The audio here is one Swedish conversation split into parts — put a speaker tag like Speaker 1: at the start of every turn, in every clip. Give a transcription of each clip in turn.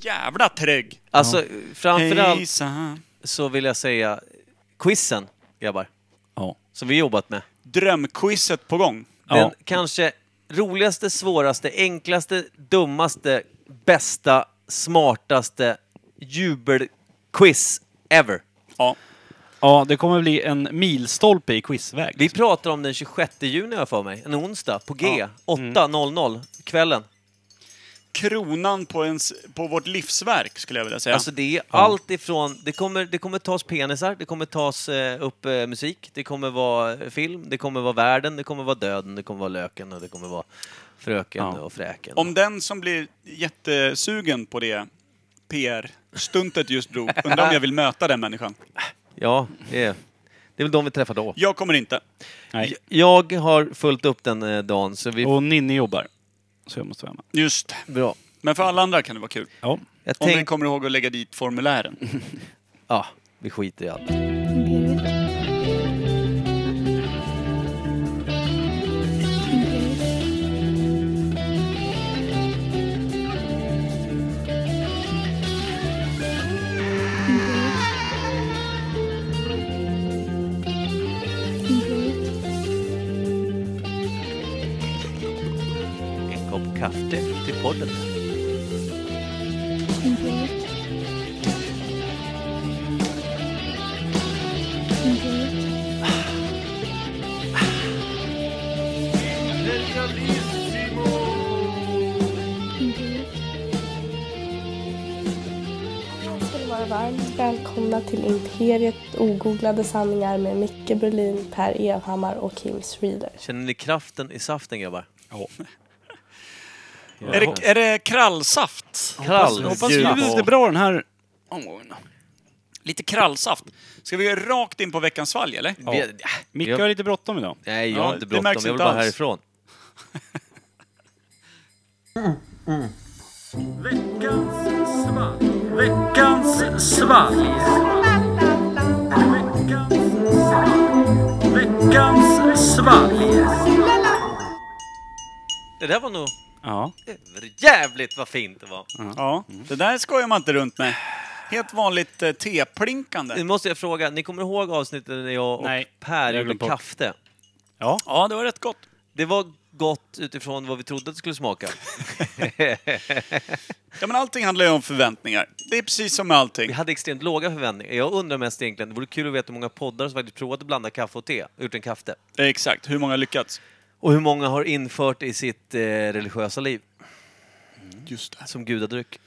Speaker 1: jävla trög!
Speaker 2: Alltså, framförallt
Speaker 1: Hejsan.
Speaker 2: så vill jag säga quizen, grabbar,
Speaker 3: Ja.
Speaker 2: som vi jobbat med.
Speaker 1: Drömquizet på gång.
Speaker 3: Ja.
Speaker 2: Den kanske roligaste, svåraste, enklaste, dummaste, bästa, smartaste jubelquiz ever.
Speaker 1: Ja.
Speaker 3: ja, det kommer bli en milstolpe i quizväg.
Speaker 2: Vi pratar om den 26 juni har jag för mig, en onsdag på G,
Speaker 3: Mm.
Speaker 2: 8.00 kvällen.
Speaker 1: Kronan på, ens, på vårt livsverk, skulle jag vilja säga.
Speaker 2: Alltså det är allt ifrån, det kommer, det kommer tas penisar, det kommer tas eh, upp eh, musik, det kommer vara eh, film, det kommer vara världen, det kommer vara döden, det kommer vara löken och det kommer vara fröken
Speaker 3: Ja.
Speaker 2: och fräken.
Speaker 1: Om den som blir jättesugen på det PR-stuntet just drog, undrar om jag vill möta den människan.
Speaker 2: Ja, det är, det är väl de vi träffar då.
Speaker 1: Jag kommer inte.
Speaker 3: Nej.
Speaker 2: Jag har fullt upp den eh, dagen, så vi...
Speaker 3: Och Ninni jobbar. Så jag måste vara med.
Speaker 1: Just det.
Speaker 2: Bra.
Speaker 1: Men för alla andra kan det vara kul.
Speaker 3: Ja.
Speaker 2: Jag
Speaker 1: Om vi
Speaker 2: tänk...
Speaker 1: kommer ihåg att lägga dit formulären.
Speaker 2: Ja, vi skiter i allt. En kopp kaffe till podden.
Speaker 4: Ska ni vara varmt välkomna till Imperiet ogooglade sanningar med Micke Berlin, Per Evhammar och Kim Reader.
Speaker 2: Känner ni kraften i saften grabbar?
Speaker 1: Är, det, är det krallsaft?
Speaker 2: Krall.
Speaker 3: Hoppas det blir lite bra den här omgången.
Speaker 1: Lite krallsaft. Ska vi rakt in på veckans svalg, eller?
Speaker 2: Vi- äh,
Speaker 3: Micke
Speaker 2: jag-
Speaker 3: har lite bråttom idag.
Speaker 2: Nej, jag
Speaker 1: Ja,
Speaker 2: har inte
Speaker 1: det märks
Speaker 2: bråttom. Jag vill
Speaker 1: inte
Speaker 2: bara
Speaker 1: alls.
Speaker 2: härifrån. Det där var nog
Speaker 3: Ja.
Speaker 2: jävligt vad fint det var.
Speaker 1: Ja. Det där skojar man inte runt med. Helt vanligt eh, teplinkande.
Speaker 2: Nu måste jag fråga, ni kommer ihåg avsnittet när jag och
Speaker 3: Nej,
Speaker 2: Per
Speaker 3: jag
Speaker 2: gjorde
Speaker 3: glömde bort.
Speaker 2: kaffe?
Speaker 3: Ja.
Speaker 1: Ja, det var rätt gott.
Speaker 2: Det var gott utifrån vad vi trodde att det skulle smaka.
Speaker 1: Ja, men allting handlar ju om förväntningar. Det är precis som med
Speaker 2: Vi
Speaker 1: allting.
Speaker 2: hade extremt låga förväntningar. Jag undrar mest egentligen, det vore kul att veta hur många poddar som faktiskt provat att blanda kaffe och te, gjort en kaffe.
Speaker 1: Eh, Exakt. Hur många har lyckats?
Speaker 2: Och hur många har infört det i sitt eh, religiösa liv
Speaker 1: Just det.
Speaker 2: som gudadryck.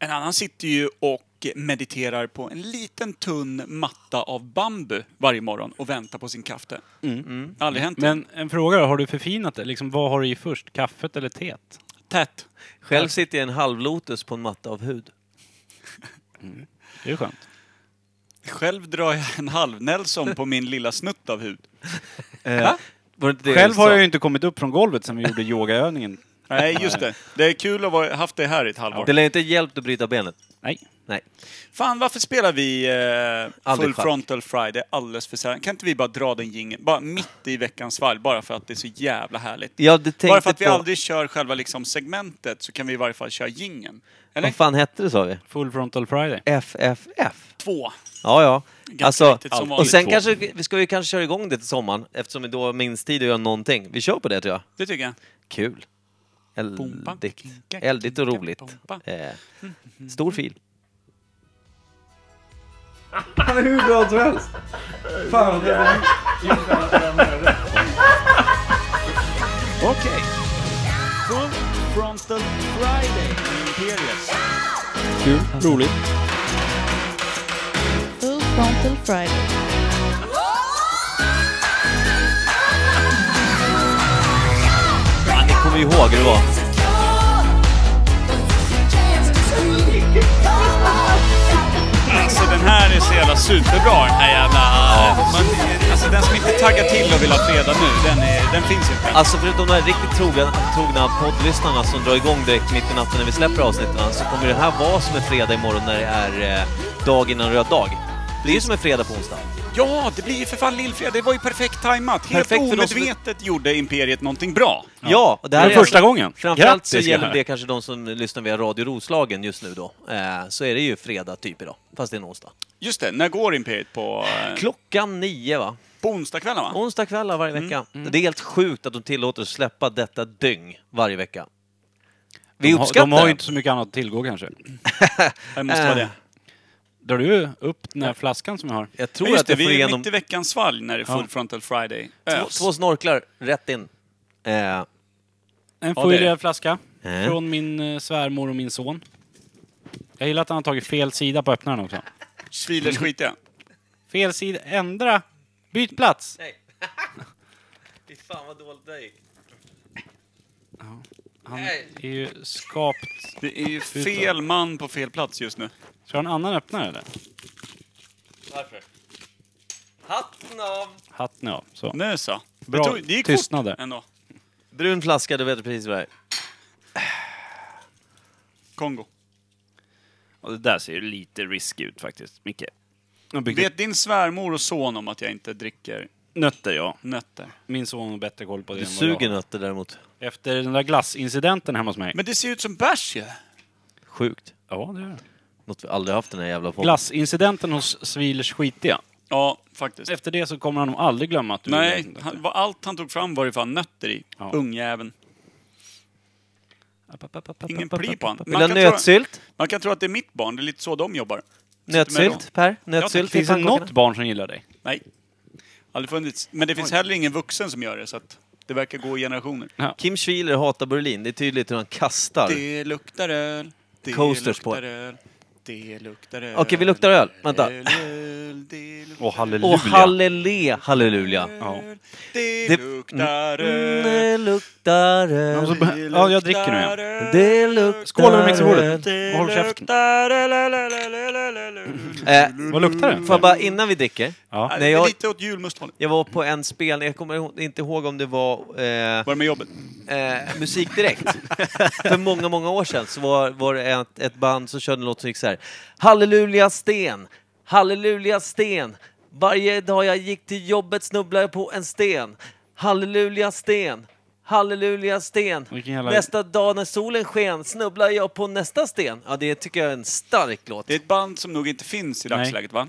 Speaker 1: En annan sitter ju och mediterar på en liten tunn matta av bambu varje morgon och väntar på sin kaffe. Aldrig hänt. Mm. Men
Speaker 3: Men en fråga då, har du förfinat det? Liksom, vad har du i först? Kaffet eller teet?
Speaker 1: tätt.
Speaker 2: Själv sitter jag i en halvlotus på en matta av hud.
Speaker 3: Det är ju skönt.
Speaker 1: Själv drar jag en halv Nelson på min lilla snutt av hud.
Speaker 2: Eh, Var det inte det
Speaker 3: Själv
Speaker 2: sa?
Speaker 3: har jag ju inte kommit upp från golvet sen vi gjorde yogaövningen.
Speaker 1: Nej, just det. Det är kul att ha haft det här i ett
Speaker 2: Det
Speaker 1: halvår.
Speaker 2: lär ju inte hjälpt att bryta benet.
Speaker 3: Nej.
Speaker 2: Nej.
Speaker 1: Fan, varför spelar vi eh,
Speaker 2: Aldrig
Speaker 1: Full
Speaker 2: schack.
Speaker 1: Frontal Friday alldeles för sällan? Kan inte vi bara dra den jingeln, bara mitt i veckans valg, bara för att det är så jävla härligt?
Speaker 2: Jag tänkte
Speaker 1: Bara för att vi
Speaker 2: på...
Speaker 1: aldrig kör själva liksom segmentet så kan vi i varje fall köra jingeln. Eller?
Speaker 2: Vad fan hette det sa vi?
Speaker 3: Full frontal friday.
Speaker 2: FFF?
Speaker 1: Två.
Speaker 2: Ja, ja.
Speaker 1: Ganska
Speaker 2: Alltså,
Speaker 1: riktigt som
Speaker 2: och sen
Speaker 1: vanligt.
Speaker 2: kanske, vi ska ju kanske köra igång det till sommaren eftersom vi då har minst tid att göra någonting. Vi kör på det tror jag.
Speaker 1: Det tycker jag.
Speaker 2: Kul.
Speaker 1: Bomba,
Speaker 2: Eldigt.
Speaker 1: kinka,
Speaker 2: Eldigt och
Speaker 1: kinka,
Speaker 2: roligt.
Speaker 1: bomba.
Speaker 2: Eh, stor fil.
Speaker 1: Okej. Full Frontal Friday. Imperius.
Speaker 3: Kul. Roligt.
Speaker 5: Full Frontal Friday.
Speaker 2: Ja, ni kommer ju ihåg hur det var.
Speaker 1: Alltså den här är så jävla superbra den här jävla... Man, alltså den som inte taggar till och vill ha fredag nu, den, är, den finns ju inte.
Speaker 2: Alltså förutom de här riktigt trogna, trogna poddlyssnarna som drar igång direkt mitt i natten när vi släpper avsnitten så kommer det här vara som en fredag imorgon när det är eh, dag innan röd dag. Det är ju som en fredag på onsdag.
Speaker 1: Ja, det blir ju för fan lillfredag. Det var ju perfekt tajmat. Helt
Speaker 2: Perfekt för de som-
Speaker 1: omedvetet gjorde Imperiet någonting bra.
Speaker 2: Ja, och det här
Speaker 6: Det var
Speaker 2: är alltså-
Speaker 6: första gången.
Speaker 2: Framförallt så
Speaker 6: Grattis,
Speaker 2: gäller
Speaker 6: grabbar.
Speaker 2: det kanske de som lyssnar via Radio Roslagen just nu då. Eh, så är det ju fredag typ idag, fast det är en onsdag.
Speaker 1: Just det, när går Imperiet? På, eh,
Speaker 2: Klockan nio va?
Speaker 1: på onsdagskvällar va?
Speaker 2: Onsdagskvällar varje
Speaker 6: Mm,
Speaker 2: vecka. Det är helt sjukt att de tillåter oss släppa detta dyng varje vecka. Vi
Speaker 6: de, har-
Speaker 2: uppskattar
Speaker 6: de har
Speaker 2: det.
Speaker 6: ju inte så mycket annat att tillgå kanske.
Speaker 1: Det måste vara det.
Speaker 6: Drar du upp den här flaskan som jag har?
Speaker 2: Jag
Speaker 1: Ja,
Speaker 2: tror
Speaker 1: just
Speaker 2: att
Speaker 1: det,
Speaker 2: jag
Speaker 1: vi
Speaker 2: får
Speaker 1: är
Speaker 2: igenom
Speaker 1: mitt i veckans svalg när det är Full Frontal Friday. Eh,
Speaker 2: två,
Speaker 1: Ös.
Speaker 2: två snorklar rätt in. Eh,
Speaker 6: En
Speaker 1: Ja, det är det.
Speaker 6: foilerad flaska.
Speaker 2: Mm.
Speaker 6: Från min eh, svärmor och min son. Jag gillar att han har tagit fel sida på öppnaren också.
Speaker 1: Svilers skitiga.
Speaker 6: Fel sida, ändra! Byt plats!
Speaker 2: Nej. Fy fan vad dåligt det gick.
Speaker 6: Han
Speaker 2: Nej.
Speaker 6: är ju skapt...
Speaker 1: Det är ju fel man på fel plats just nu.
Speaker 6: Ska jag ha en annan öppnare eller?
Speaker 2: Varför? Hatten av!
Speaker 6: Hatten av. Så.
Speaker 1: Nu så.
Speaker 6: Bra
Speaker 1: Det, tog, det gick
Speaker 6: tystnad
Speaker 1: fort
Speaker 6: där.
Speaker 1: ändå.
Speaker 2: Brun flaska, du vet precis vad det är.
Speaker 1: Kongo.
Speaker 6: Och det där ser ju lite risk ut faktiskt, Micke. Jag byggde
Speaker 1: Vet din svärmor och son om att jag inte dricker
Speaker 6: nötter ja.
Speaker 1: nötter?
Speaker 6: Min son har bättre koll på det
Speaker 2: Du
Speaker 6: än vad jag
Speaker 2: suger
Speaker 6: har.
Speaker 2: nötter däremot.
Speaker 6: Efter den där glassincidenten hemma hos mig.
Speaker 1: Men det ser ut som bärs ju.
Speaker 2: Sjukt.
Speaker 6: Ja, det gör det.
Speaker 2: Något vi aldrig haft den här jävla podden.
Speaker 6: Glassincidenten hos Svilers skitiga.
Speaker 1: Ja, faktiskt.
Speaker 6: Efter det så kommer han nog aldrig glömma att du
Speaker 1: Nej,
Speaker 6: gjorde
Speaker 1: han, vad- allt han tog fram var ju fan nötter i.
Speaker 6: Ja.
Speaker 1: Ungjäveln.
Speaker 6: det.
Speaker 1: Ingen pli på han.
Speaker 2: Vill du ha
Speaker 1: tro,
Speaker 2: nötsylt?
Speaker 1: man kan tro att det är mitt barn, det är lite så de jobbar. med
Speaker 2: Nötsylt, Per? Nötsylt i
Speaker 6: Finns det
Speaker 2: pannkakorna?
Speaker 6: något barn som gillar dig?
Speaker 1: Nej. Aldrig funnits. Men det finns heller ingen vuxen som gör det, så att det verkar gå i generationer.
Speaker 2: Kim Schwiler hatar Berlin. Det är tydligt hur han kastar.
Speaker 1: Det luktar öl. Det
Speaker 2: Coasters på.
Speaker 1: luktar öl. Det luktar öl.
Speaker 2: Okej, vi luktar öl.
Speaker 6: Eh,
Speaker 2: Vänta.
Speaker 1: Öl, öl, det luktar
Speaker 6: Åh, halleluja.
Speaker 2: Och hallele, halleluja.
Speaker 6: Ja.
Speaker 1: öl. Det
Speaker 2: Det-
Speaker 1: luktar
Speaker 2: Mm,
Speaker 1: öl.
Speaker 2: det luktar
Speaker 6: Ja,
Speaker 2: öl.
Speaker 6: så- Ja, jag dricker nu igen.
Speaker 2: Det luktar
Speaker 6: Skål över mixerbordet.
Speaker 2: öl.
Speaker 1: Det
Speaker 6: Håll käften.
Speaker 1: luktar öl, öl, öl, öl, öl, öl, öl, öl.
Speaker 2: Eh,
Speaker 6: Vad luktar den?
Speaker 2: Får jag bara, innan vi dricker.
Speaker 6: Ja.
Speaker 1: Nej,
Speaker 2: Nej,
Speaker 1: det är
Speaker 2: jag-
Speaker 1: Lite åt julmusthållet.
Speaker 2: Jag var på en spelning, jag kommer ihå- inte ihåg om det var eh,
Speaker 1: Var det med jobbet?
Speaker 2: eh, Musik Direkt. För många, många år sedan så var, var det ett, ett band som körde en låt som gick så här. Halleluja sten, halleluja sten. Varje dag jag gick till jobbet snubblade jag på en sten. Halleluja sten, halleluja sten.
Speaker 6: Vilken jävla-
Speaker 2: Nästa dag när solen sken snubblade jag på nästa sten. Ja, det tycker jag är en stark låt.
Speaker 1: Det är ett band som nog inte finns i
Speaker 6: Nej.
Speaker 1: dagsläget, va?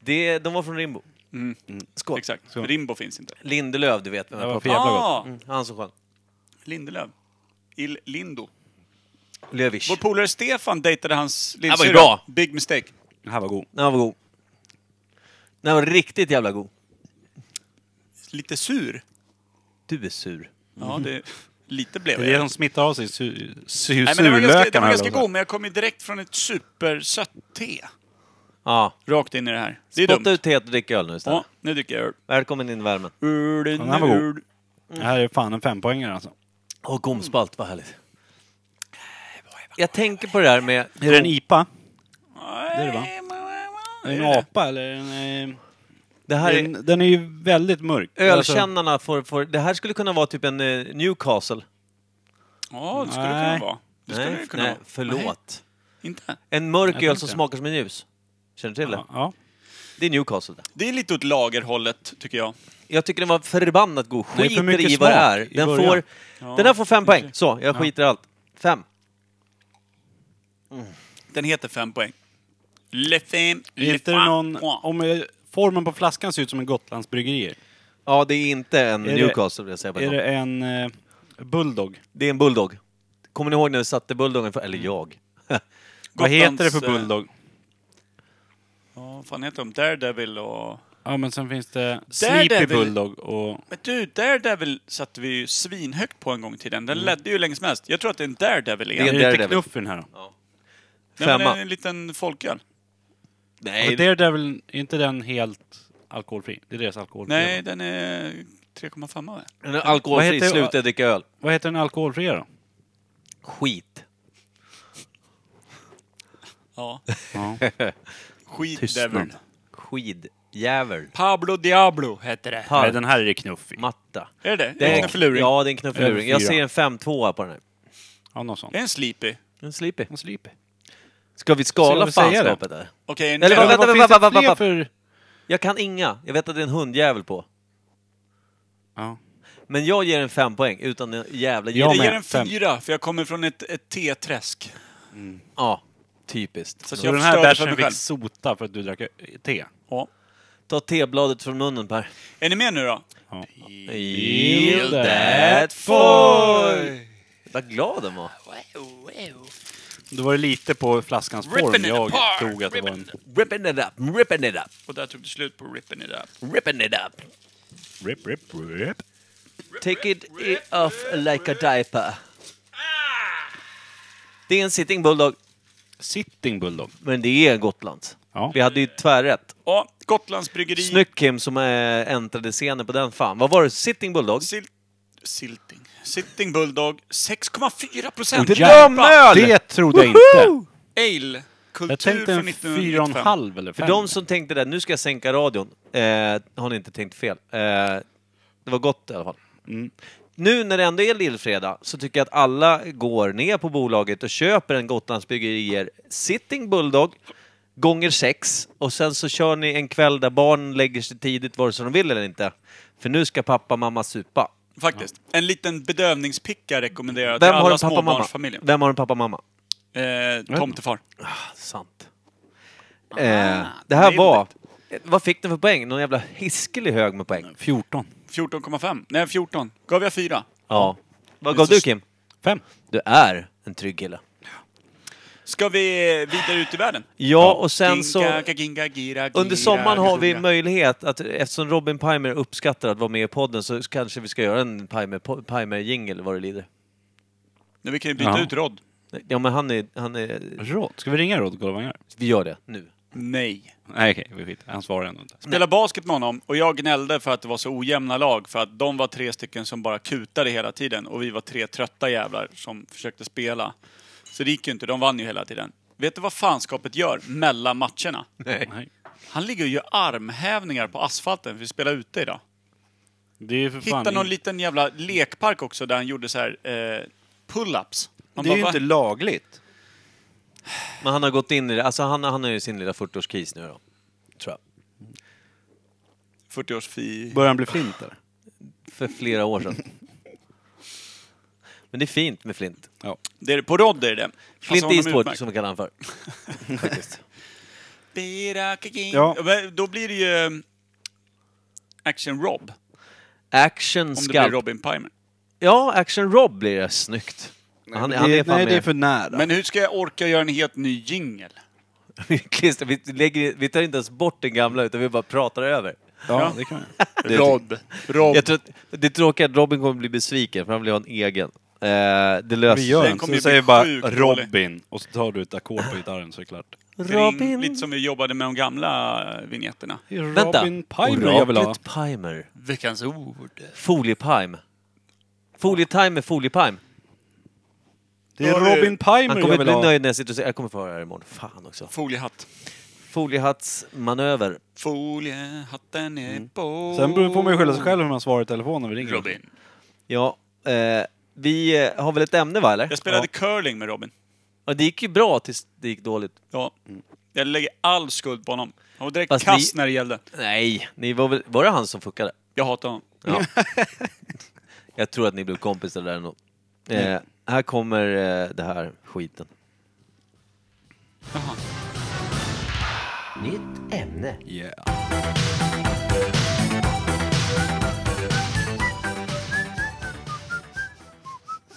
Speaker 2: Det, de var från Rimbo. Skål.
Speaker 1: Exakt. Rimbo finns inte.
Speaker 2: Lindelöf, du vet vem
Speaker 6: Mm. Det
Speaker 2: jag
Speaker 6: var för
Speaker 2: pratar om.
Speaker 6: jävla gott.
Speaker 1: Ah,
Speaker 2: Mm, han som sjöng.
Speaker 1: Lindelöf. Il Lindo.
Speaker 2: Lövish.
Speaker 1: Vår polare Stefan dejtade hans
Speaker 2: var ju
Speaker 1: lillsyrra.
Speaker 2: bra.
Speaker 1: Big mistake.
Speaker 6: Den här var god.
Speaker 2: Den var god. Den var riktigt jävla god.
Speaker 1: Lite sur.
Speaker 2: Du är sur.
Speaker 1: Ja, det... Lite blev
Speaker 6: Det
Speaker 1: jag.
Speaker 6: är det som smittar av sig su- su-
Speaker 1: Nej, men det var ganska, det var
Speaker 6: surlökarna.
Speaker 1: ganska
Speaker 6: eller vad
Speaker 1: god, men jag kom ju direkt från ett supersött te.
Speaker 2: Ja.
Speaker 1: Rakt in i det här. Det är
Speaker 2: Spotta
Speaker 1: dumt.
Speaker 2: ut teet och drick öl nu istället.
Speaker 1: Ja, nu dricker jag öl.
Speaker 2: Välkommen in i värmen.
Speaker 1: Ölen
Speaker 6: här var
Speaker 1: är
Speaker 6: god.
Speaker 1: öl.
Speaker 6: det var. Det här är fan en fempoängare alltså.
Speaker 2: Åh, gomspalt, vad härligt. Jag tänker på det här med...
Speaker 6: Är det en IPA?
Speaker 1: Nej,
Speaker 6: det, va? Är det
Speaker 1: är
Speaker 6: en
Speaker 1: det.
Speaker 6: apa eller? En, eh,
Speaker 2: Det här är,
Speaker 6: den, alltså- den är ju väldigt mörk.
Speaker 2: ölkännarna får, får... Det här skulle kunna vara typ en eh, Newcastle.
Speaker 1: Ja, det skulle det kunna
Speaker 6: Nej.
Speaker 1: vara. Det skulle det kunna
Speaker 2: nej
Speaker 1: vara.
Speaker 2: förlåt.
Speaker 1: Nej, inte.
Speaker 2: En mörk
Speaker 6: Jag
Speaker 2: öl
Speaker 6: tänkte
Speaker 2: som
Speaker 6: det.
Speaker 2: smakar som en ljus. Känner du till det?
Speaker 6: Alltså, ja.
Speaker 2: Det är Newcastle. det.
Speaker 1: Det är lite åt lagerhållet, tycker jag.
Speaker 2: Jag tycker den var förbannat god.
Speaker 6: Nej, för
Speaker 2: Skiter
Speaker 6: mycket
Speaker 2: i vad det
Speaker 6: smak
Speaker 2: är.
Speaker 6: i
Speaker 2: Den,
Speaker 6: början.
Speaker 2: får, den här får fem poäng. Så, jag skiter i allt. Fem.
Speaker 1: Den heter fem poäng. Le fem,
Speaker 6: Är
Speaker 1: le
Speaker 6: inte
Speaker 1: fem
Speaker 6: det någon...
Speaker 1: poäng.
Speaker 6: Om eh, formen på flaskan ser ut som en Gotlandsbryggerier.
Speaker 2: Ja, det är inte en
Speaker 6: Är det-
Speaker 2: Newcastle vill jag säga på en
Speaker 6: Är
Speaker 2: gång.
Speaker 6: det en eh, bulldog?
Speaker 2: Det är en bulldog. Kommer ni ihåg när vi satte bulldoggen för, eller jag?
Speaker 6: Vad heter det
Speaker 1: Gotlands,
Speaker 6: för bulldog?
Speaker 1: Ja, vad fan heter de? Daredevil och...
Speaker 6: Ja, men sen finns det
Speaker 1: Daredevil.
Speaker 6: Sleepy Bulldog och...
Speaker 1: Men du, Daredevil satte vi ju svinhögt på en gång i tiden. Den ledde ju länge som helst. Jag tror att det är en Daredevil igen.
Speaker 2: Det är
Speaker 6: Är
Speaker 2: en
Speaker 1: Nej,
Speaker 6: det lite
Speaker 2: Daredevil.
Speaker 6: knuff i den här då?
Speaker 1: men det
Speaker 2: Femma.
Speaker 1: är en liten folköl.
Speaker 6: Nej. Daredevil, är inte den helt alkoholfri? Det är deras alkoholfria.
Speaker 1: Nej, den är 3,5 va?
Speaker 2: Den är
Speaker 6: Vad
Speaker 2: alkoholfri,
Speaker 6: heter-
Speaker 2: sluta dricka öl.
Speaker 6: Vad heter den alkoholfria då?
Speaker 2: Skit.
Speaker 1: Ja.
Speaker 6: Ja.
Speaker 1: Skit
Speaker 6: Tystnad.
Speaker 1: Devil.
Speaker 2: Skidjävel.
Speaker 1: Pablo Diablo heter det.
Speaker 6: Nej,
Speaker 2: Park.
Speaker 6: den här är det knuff i.
Speaker 2: Matta.
Speaker 1: Är det det?
Speaker 2: Det
Speaker 1: Är
Speaker 2: är-
Speaker 1: det en förluring?
Speaker 2: Ja, det är en knuffeluring. Jag
Speaker 6: Fyra.
Speaker 2: ser en 5-2 på den här.
Speaker 1: Eh.
Speaker 6: Ja, något sånt.
Speaker 1: Det är en sleepy.
Speaker 2: En sleepy.
Speaker 6: En Sleepy.
Speaker 2: Ska vi
Speaker 3: Se om
Speaker 2: skala
Speaker 3: du säger det.
Speaker 2: fanskapet där?
Speaker 1: Okej, nu...
Speaker 2: Eller vad-
Speaker 3: Eller
Speaker 2: vänta,
Speaker 3: vad
Speaker 2: vänta,
Speaker 3: finns det
Speaker 2: vänta,
Speaker 3: fler
Speaker 2: vänta.
Speaker 3: för...
Speaker 2: Jag kan inga. Jag vet att det är en hundjävel på.
Speaker 3: Ja.
Speaker 2: Men jag ger en fem poäng utan en jävla
Speaker 3: Jag
Speaker 1: Jag
Speaker 2: gissning.
Speaker 1: ger
Speaker 3: med.
Speaker 1: en
Speaker 3: Fem.
Speaker 1: fyra, för jag kommer från ett, ett T-träsk.
Speaker 2: Ja, typiskt.
Speaker 1: Så, att
Speaker 3: Så
Speaker 1: jag
Speaker 3: den här
Speaker 1: förstörde för mig
Speaker 3: bärsen
Speaker 1: själv.
Speaker 3: fick sota för att du drack te?
Speaker 1: Ja.
Speaker 2: Ta tebladet från munnen Per.
Speaker 1: Är ni med nu då?
Speaker 2: Yield that foy! Vad glad den var.
Speaker 3: Då var det lite på flaskans form
Speaker 1: Ripping it
Speaker 3: jag
Speaker 1: apart,
Speaker 3: tog att det var
Speaker 1: ripping
Speaker 3: en...
Speaker 2: Ripping it up, ripping it up,
Speaker 1: Och där tog det slut på ripping it up.
Speaker 2: ripping it up.
Speaker 3: Rip, rip, rip.
Speaker 2: Take it i- off like a diaper. Det är en sitting bulldog,
Speaker 3: Sitting Bulldog.
Speaker 2: men det är Gotlands.
Speaker 3: Ja.
Speaker 2: Vi hade ju tvärrätt.
Speaker 1: Ja, Gotlands bryggeri.
Speaker 2: Snyggt Kim som äh, äntrade scenen på den fan. Vad var det? Sitting bulldog?
Speaker 1: Sil- Silting. Sitting Bulldog. 6,4
Speaker 2: Och
Speaker 1: procent!
Speaker 2: det Drömöl!
Speaker 3: Det trodde jag inte.
Speaker 1: Ale. Kultur
Speaker 3: Jag tänkte en
Speaker 1: från 1995.
Speaker 3: 4,5 eller 5.
Speaker 2: För de som tänkte det, nu ska jag sänka radion, eh, har ni inte tänkt fel. Eh, det var gott i alla fall.
Speaker 1: Mm.
Speaker 2: Nu när det ändå är lillfredag så tycker jag att alla går ner på bolaget och köper en Gotlandsbryggerier Sitting Bulldog gånger sex och sen så kör ni en kväll där barn lägger sig tidigt vare sig de vill eller inte. För nu ska pappa och mamma supa.
Speaker 1: Faktiskt. En liten bedövningspicka rekommenderar jag till
Speaker 2: Vem har
Speaker 1: alla
Speaker 2: en pappa och mamma?
Speaker 1: småbarnsfamiljer.
Speaker 2: Vem har en pappa och mamma?
Speaker 1: Eh, tomtefar.
Speaker 2: Sant. Eh,
Speaker 1: Ah,
Speaker 2: det här
Speaker 1: det är
Speaker 2: var... Vad fick den för poäng? Någon jävla hiskelig hög med poäng.
Speaker 3: 14.
Speaker 1: 14,5. Nej, 14. Gav jag 4.
Speaker 2: Ja. Vad gav
Speaker 1: så
Speaker 2: du Kim?
Speaker 3: 5.
Speaker 2: Du är en trygg kille.
Speaker 1: Ska vi vidare ut i världen?
Speaker 2: Ja, och sen så...
Speaker 1: Ginga, ginga, gira, gira,
Speaker 2: Under sommaren har vi
Speaker 1: gira.
Speaker 2: möjlighet att, eftersom Robin Pimer uppskattar att vara med i podden, så kanske vi ska göra en Pimer- Pimer-jingel vad det lider.
Speaker 1: Nu, vi kan ju byta
Speaker 3: Ja.
Speaker 1: ut Rod.
Speaker 2: Ja, men han är... Han är
Speaker 3: Råd. Ska vi ringa Rod Golvangar?
Speaker 2: vi gör det nu.
Speaker 1: Nej.
Speaker 3: Nej, okej. vi skiter Han svarar ändå inte.
Speaker 1: Spela basket med honom och jag gnällde för att det var så ojämna lag för att de var tre stycken som bara kutade hela tiden och vi var tre trötta jävlar som försökte spela. Så det gick ju inte, de vann ju hela tiden. Vet du vad fanskapet gör mellan matcherna?
Speaker 3: Nej.
Speaker 1: Han ligger och gör armhävningar på asfalten för vi spelar ute idag.
Speaker 3: Det är ju för fan...
Speaker 1: Hittade någon
Speaker 3: in-
Speaker 1: liten jävla lekpark också där han gjorde så här eh, pull-ups. Man
Speaker 6: Det är
Speaker 1: bara,
Speaker 6: ju
Speaker 1: "Va?"
Speaker 6: inte lagligt.
Speaker 2: Men han har gått in i det. Alltså han, han har ju sin lilla 40-årskris nu då. Tror jag.
Speaker 1: 40 års fi...
Speaker 6: Börjar han bli flint eller?
Speaker 2: För flera år sedan. Men det är fint med Flint.
Speaker 6: Alltså,
Speaker 1: Det är det, på Rod är det det.
Speaker 2: Flint
Speaker 1: honom är
Speaker 2: Eastwood,
Speaker 1: utmärkt.
Speaker 6: liksom.
Speaker 2: som vi kallar honom för. Faktiskt.
Speaker 1: Bira, kaking.
Speaker 6: Ja.
Speaker 1: Ja. men Då blir det ju eh, Action Rob.
Speaker 2: Action
Speaker 1: Om det blir
Speaker 2: Skalp.
Speaker 1: Robin Pimer.
Speaker 2: Ja, Action Rob blir det snyggt. Han, han är
Speaker 6: det,
Speaker 2: fan
Speaker 6: nej,
Speaker 2: med.
Speaker 6: det är för nära.
Speaker 1: Men hur ska jag orka göra en helt ny jingel?
Speaker 2: vi, klistrar- vi, lägger, vi tar inte ens bort den gamla, utan vi bara pratar över.
Speaker 6: ja, det typ- kan jag.
Speaker 1: Rob. Rob.
Speaker 2: Jag tror att, det är tråkigt att Robin kommer bli besviken, för han vill ha en egen. Eh, det löser
Speaker 6: Vi gör
Speaker 1: Den
Speaker 6: den,
Speaker 1: kommer
Speaker 6: så
Speaker 1: ju bli
Speaker 6: vi säger bara
Speaker 1: sjukt dålig.
Speaker 6: Robin och så tar du ett ackord på gitarren så är det klart.
Speaker 1: Robin.
Speaker 2: Robin...
Speaker 1: Lite som vi jobbade med de gamla eh, vinjetterna.
Speaker 2: Vänta.
Speaker 3: Robin Pimer jag vill ha.
Speaker 2: Oraklet Pimer.
Speaker 1: Veckans ord.
Speaker 2: Foliepime. Folietime är Foliepime.
Speaker 6: Det är
Speaker 1: Då har vi-
Speaker 6: Robin
Speaker 2: Han
Speaker 6: Pimer
Speaker 2: kommer
Speaker 6: jag vill
Speaker 2: bli
Speaker 6: ha.
Speaker 2: nöjd när jag sitter och säger jag kommer få höra det här imorgon. Fan också.
Speaker 1: Foliehatt.
Speaker 2: Foliehattsmanöver.
Speaker 1: Foliehatten är
Speaker 2: Mm.
Speaker 1: på.
Speaker 6: Sen beror det på mig skylla sig själv hur man svarar i telefon när vi ringer.
Speaker 1: Robin.
Speaker 2: Ja, eh, vi eh, har väl ett ämne va, eller?
Speaker 1: Jag spelade curling med Robin.
Speaker 2: Ja, det gick ju bra tills det gick dåligt.
Speaker 1: Ja. Jag lägger all skuld på honom. Han var direkt
Speaker 2: Mm. Fast
Speaker 1: kass
Speaker 2: ni-
Speaker 1: när det gällde.
Speaker 2: Nej, ni var, väl, var det han som fuckade?
Speaker 1: Jag hatar honom.
Speaker 2: Ja. jag tror att ni blev kompisar där ändå. Eh, här kommer eh, det här skiten. Nytt ämne.
Speaker 6: Yeah.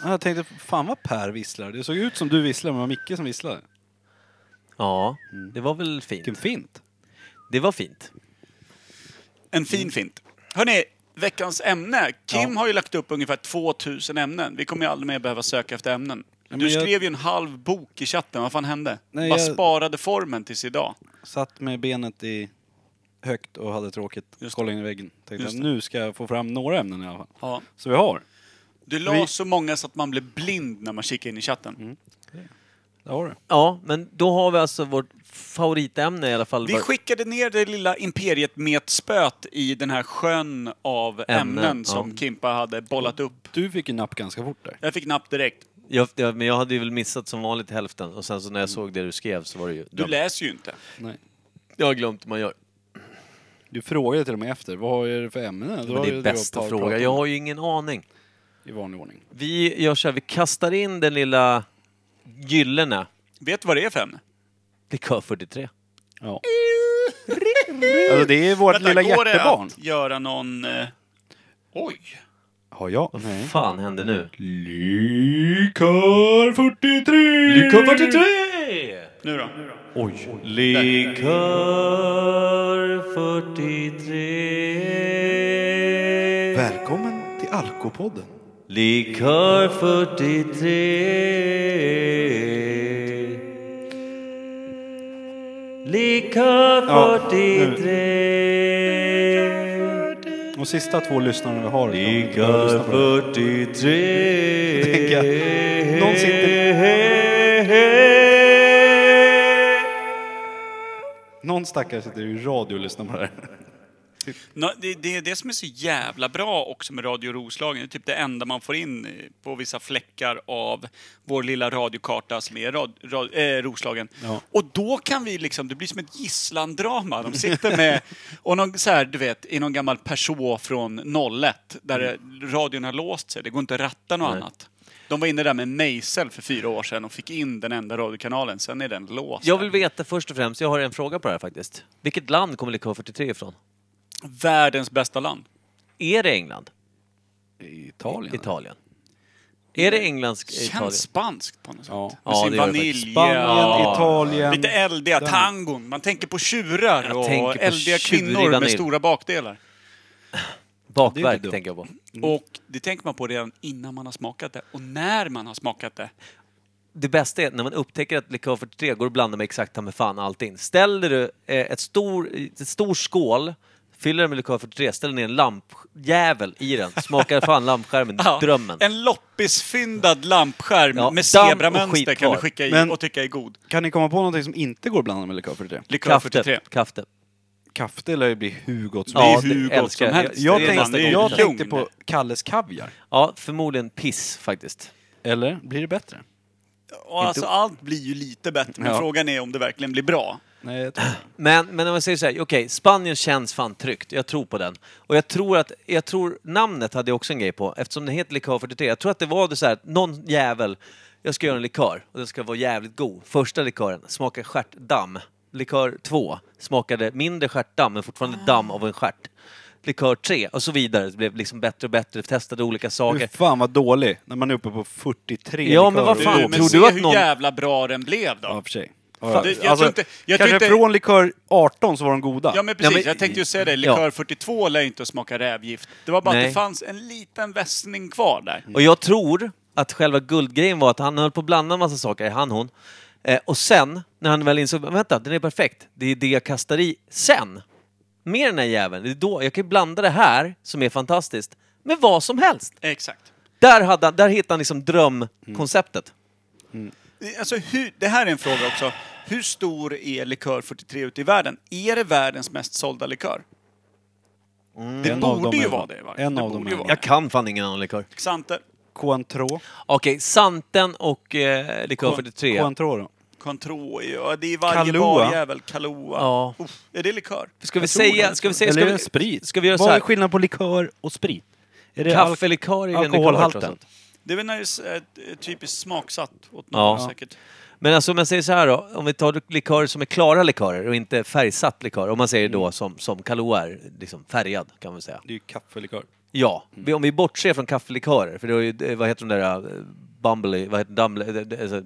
Speaker 6: Ja, Jag tänkte, fan vad Per visslar. Det såg ut som du visslade, men det var Micke som visslade.
Speaker 2: Ja, det var väl
Speaker 6: Vilken
Speaker 2: fint.
Speaker 6: fint.
Speaker 2: Det var fint.
Speaker 1: En
Speaker 6: Mm.
Speaker 1: fin fint. Hörni, veckans ämne. Kim har ju lagt upp ungefär 2000 ämnen. Vi kommer ju aldrig mer behöva söka efter ämnen. Du
Speaker 6: men jag-
Speaker 1: skrev ju en halv bok i chatten. Vad fan hände?
Speaker 6: Nej,
Speaker 1: Vad
Speaker 6: jag-
Speaker 1: sparade formen tills idag?
Speaker 6: Satt med benet i högt och hade tråkigt.
Speaker 1: Just
Speaker 6: Kollade in i väggen. Tänkte
Speaker 1: Just
Speaker 6: att nu ska jag få fram några ämnen i alla fall.
Speaker 1: Ja.
Speaker 6: Så vi har.
Speaker 1: Du la
Speaker 6: Vi- Mm.
Speaker 1: så många så att man blev blind när man kikade in i chatten.
Speaker 6: Det har du.
Speaker 2: Ja, men då har vi alltså vårt favoritämne i alla fall.
Speaker 1: Vi skickade ner det lilla imperiet med ett spöt i den här sjön av ämnen,
Speaker 2: Ämnen, ja.
Speaker 1: som Kimpa hade bollat upp.
Speaker 6: Du fick ju napp ganska fort där.
Speaker 1: Jag fick napp direkt.
Speaker 2: Jag, jag, men jag hade ju väl missat som vanligt hälften och sen så när jag såg det du skrev så var det ju...
Speaker 1: Du läser ju inte.
Speaker 6: Nej.
Speaker 2: jag har glömt hur man gör.
Speaker 6: Du frågade till och med efter, vad är det för ämne? Då
Speaker 2: Men
Speaker 6: har
Speaker 2: det
Speaker 6: ju
Speaker 2: är
Speaker 6: du
Speaker 2: bästa
Speaker 6: och Paul
Speaker 2: fråga.
Speaker 6: pratat
Speaker 2: Jag
Speaker 6: om
Speaker 2: har ju ingen aning.
Speaker 6: det I vanlig ordning.
Speaker 2: Vi gör så här, vi kastar in den lilla gyllene.
Speaker 1: Vet du vad det är för ämne?
Speaker 2: Det är kö 43.
Speaker 6: Ja. alltså det är vårt lilla
Speaker 1: går det
Speaker 6: hjärtebarn.
Speaker 1: att göra någon... Eh... Oj!
Speaker 6: Har jag? Nej.
Speaker 2: fan hände nu?
Speaker 6: Likör 43!
Speaker 2: Likör 43!
Speaker 1: Nu då?
Speaker 2: Oj. Likör 43.
Speaker 6: Välkommen till Alkopodden.
Speaker 2: Likör 43 Likör
Speaker 6: Ja,
Speaker 2: 43
Speaker 6: De sista två lyssnarna vi har. idag, de lyssnar
Speaker 2: Likör
Speaker 6: på det.
Speaker 2: 43
Speaker 6: Tänka, någon Någon stackare sitter i radio och lyssnar på det här.
Speaker 1: Nå, det, det är det som är så jävla bra också med Radio Roslagen. Det är typ det enda man får in eh, på vissa fläckar av vår lilla radiokarta som är rad, rad, eh, Roslagen.
Speaker 6: Ja.
Speaker 1: Och då kan vi liksom, det blir som ett gisslandrama. De sitter med, och någon, så här, du vet, i någon gammal Peugeot från 01 där
Speaker 2: Mm.
Speaker 1: eh, radion har låst sig. Det går inte att ratta något annat. De var inne där med Mejsel för fyra år sedan och fick in den enda radiokanalen. Sen är den låst.
Speaker 2: Jag vill veta först och främst, jag har en fråga på det här faktiskt. Vilket land kommer Likör 43 ifrån?
Speaker 1: Världens bästa land.
Speaker 2: Är det England?
Speaker 6: Italien?
Speaker 2: Italien? Är det Englands Italien?
Speaker 1: Känns spanskt på något sätt.
Speaker 6: Ja.
Speaker 1: Med
Speaker 2: Ja,
Speaker 1: sin
Speaker 2: det gör det
Speaker 1: vanilj.
Speaker 6: Spanien,
Speaker 1: ja.
Speaker 6: Italien.
Speaker 1: Lite eldiga
Speaker 6: Den-
Speaker 1: tangon. Man tänker på tjurar
Speaker 2: Jag
Speaker 1: och
Speaker 2: tänker på
Speaker 1: eldiga
Speaker 2: tjurig
Speaker 1: kvinnor med
Speaker 2: vanilj.
Speaker 1: stora bakdelar.
Speaker 6: Det är
Speaker 2: Bakverk
Speaker 6: inte dumt.
Speaker 2: tänker jag på.
Speaker 1: Och det tänker man på redan innan man har smakat det. Och när man har smakat det.
Speaker 2: det bästa är när man upptäcker att likör 43 går att blanda med exakt ta med fan allting. Ställer du eh, ett stor, ett stor skål, fyller den med likör 43, ställer ner en lampjävel i den, smakar fan lampskärmen,
Speaker 1: Ja,
Speaker 2: drömmen.
Speaker 1: En loppisfyndad lampskärm
Speaker 2: Ja,
Speaker 1: med
Speaker 2: damm och
Speaker 1: zebramönster
Speaker 2: skit
Speaker 1: kan du
Speaker 2: kvar.
Speaker 1: skicka i
Speaker 6: Men-
Speaker 1: och tycka är god.
Speaker 6: Kan ni komma på någonting som inte går att blanda med likör 43?
Speaker 1: Likör 43.
Speaker 2: Kaffe, kaffe.
Speaker 6: Kaffe lär ju bli hur gott som
Speaker 1: Det är
Speaker 2: Ja,
Speaker 6: helst.
Speaker 1: hur
Speaker 2: det
Speaker 1: gott
Speaker 2: älskar
Speaker 1: som
Speaker 2: jag.
Speaker 1: helst.
Speaker 6: Jag,
Speaker 1: det är
Speaker 6: tänkte,
Speaker 1: nästan
Speaker 6: jag
Speaker 1: godkänt.
Speaker 6: tänkte på Kalles Kaviar.
Speaker 2: Ja, förmodligen piss faktiskt.
Speaker 6: Eller? Blir det bättre?
Speaker 1: Och alltså, allt blir ju lite bättre, men
Speaker 6: Ja.
Speaker 1: frågan är om det verkligen blir bra.
Speaker 6: Nej, jag tror inte.
Speaker 2: Men, men om jag säger så här, okej, Spanien känns fan tryggt. Jag tror på den. Och jag tror att, jag tror, namnet hade jag också en grej på, eftersom den heter Likör 43. Jag tror att det var det så här, att någon jävel, jag ska göra en likör och den ska vara jävligt god. Första likören smakar stjärtdamm. Likör 2 smakade mindre stjärtdamm, men fortfarande damm av en stjärt. Likör 3 och så vidare. Det blev liksom bättre och bättre, vi testade olika
Speaker 6: Hur
Speaker 2: saker.
Speaker 6: fan vad dålig när man är uppe på 43
Speaker 2: Ja, men
Speaker 6: likörer.
Speaker 2: vad fan,
Speaker 1: du, men
Speaker 2: tror
Speaker 1: se
Speaker 2: du att
Speaker 1: hur
Speaker 2: någon-
Speaker 1: jävla bra den blev då.
Speaker 6: Ja, för sig.
Speaker 1: Fan, det- jag tror inte- jag tror
Speaker 6: kanske
Speaker 1: inte-
Speaker 6: från likör 18 så var de goda.
Speaker 1: Ja men precis,
Speaker 2: Ja, men-
Speaker 1: jag tänkte ju säga det.
Speaker 2: Ja.
Speaker 1: Likör 42 lär ju inte att smaka rävgift. Det var bara att
Speaker 2: Nej.
Speaker 1: det fanns en liten vässning kvar där.
Speaker 2: Mm. Och jag tror att själva guldgrejen var att han höll på att blanda en massa saker, han hon. Eh, och sen, när han väl insåg, "Men vänta, den är perfekt, det är det jag kastar i sen. Med den här jäveln, det är då jag kan blanda det här, som är fantastiskt, med vad som helst.
Speaker 1: Exakt.
Speaker 2: Där, hade han, där hittade han liksom drömkonceptet.
Speaker 1: Alltså, hur, det här är en fråga också. Hur stor är Likör 43 ute i världen? Är det världens mest sålda likör? Det
Speaker 6: En av
Speaker 1: borde
Speaker 6: dem
Speaker 1: ju
Speaker 6: är-
Speaker 1: vara det. Va?
Speaker 6: en
Speaker 1: det
Speaker 6: av dem
Speaker 1: borde
Speaker 6: är-
Speaker 1: ju vara
Speaker 2: Jag
Speaker 1: det.
Speaker 2: kan fan ingen annan likör.
Speaker 1: Xanter,
Speaker 6: Cointreau.
Speaker 2: Okej, Santen och eh, likör 43.
Speaker 6: Cointreau då.
Speaker 1: Cointreau, är ju- ja, det är varje
Speaker 6: Kahlua.
Speaker 1: barjävel. Kahlua.
Speaker 2: Ja.
Speaker 1: Uff, är det likör?
Speaker 2: Ska vi
Speaker 1: Jag tror
Speaker 2: säga,
Speaker 1: det.
Speaker 2: ska vi säga, ska
Speaker 6: Eller är det
Speaker 2: vi,
Speaker 6: sprit?
Speaker 2: ska vi göra så
Speaker 6: Vad är
Speaker 2: här?
Speaker 6: skillnaden på likör och sprit? Är det
Speaker 2: Kaffelikör är
Speaker 6: alk-
Speaker 2: en likör trots
Speaker 6: alkoholhalten?
Speaker 2: allt.
Speaker 1: Det är väl när det är eh, typiskt smaksatt åt
Speaker 2: Ja.
Speaker 1: någon säkert.
Speaker 2: Men alltså om jag säger så här då, om vi tar likörer som är klara likörer och inte färgsatt likör, om man säger
Speaker 1: Mm.
Speaker 2: då som, som Kahlua är liksom färgad kan man säga.
Speaker 6: Det är ju kaffelikör.
Speaker 2: Ja, vi- om vi bortser från kaffelikörer, för det är ju, eh, vad heter de där, eh, Bumbly, vad heter Dumble, eh, eh, alltså,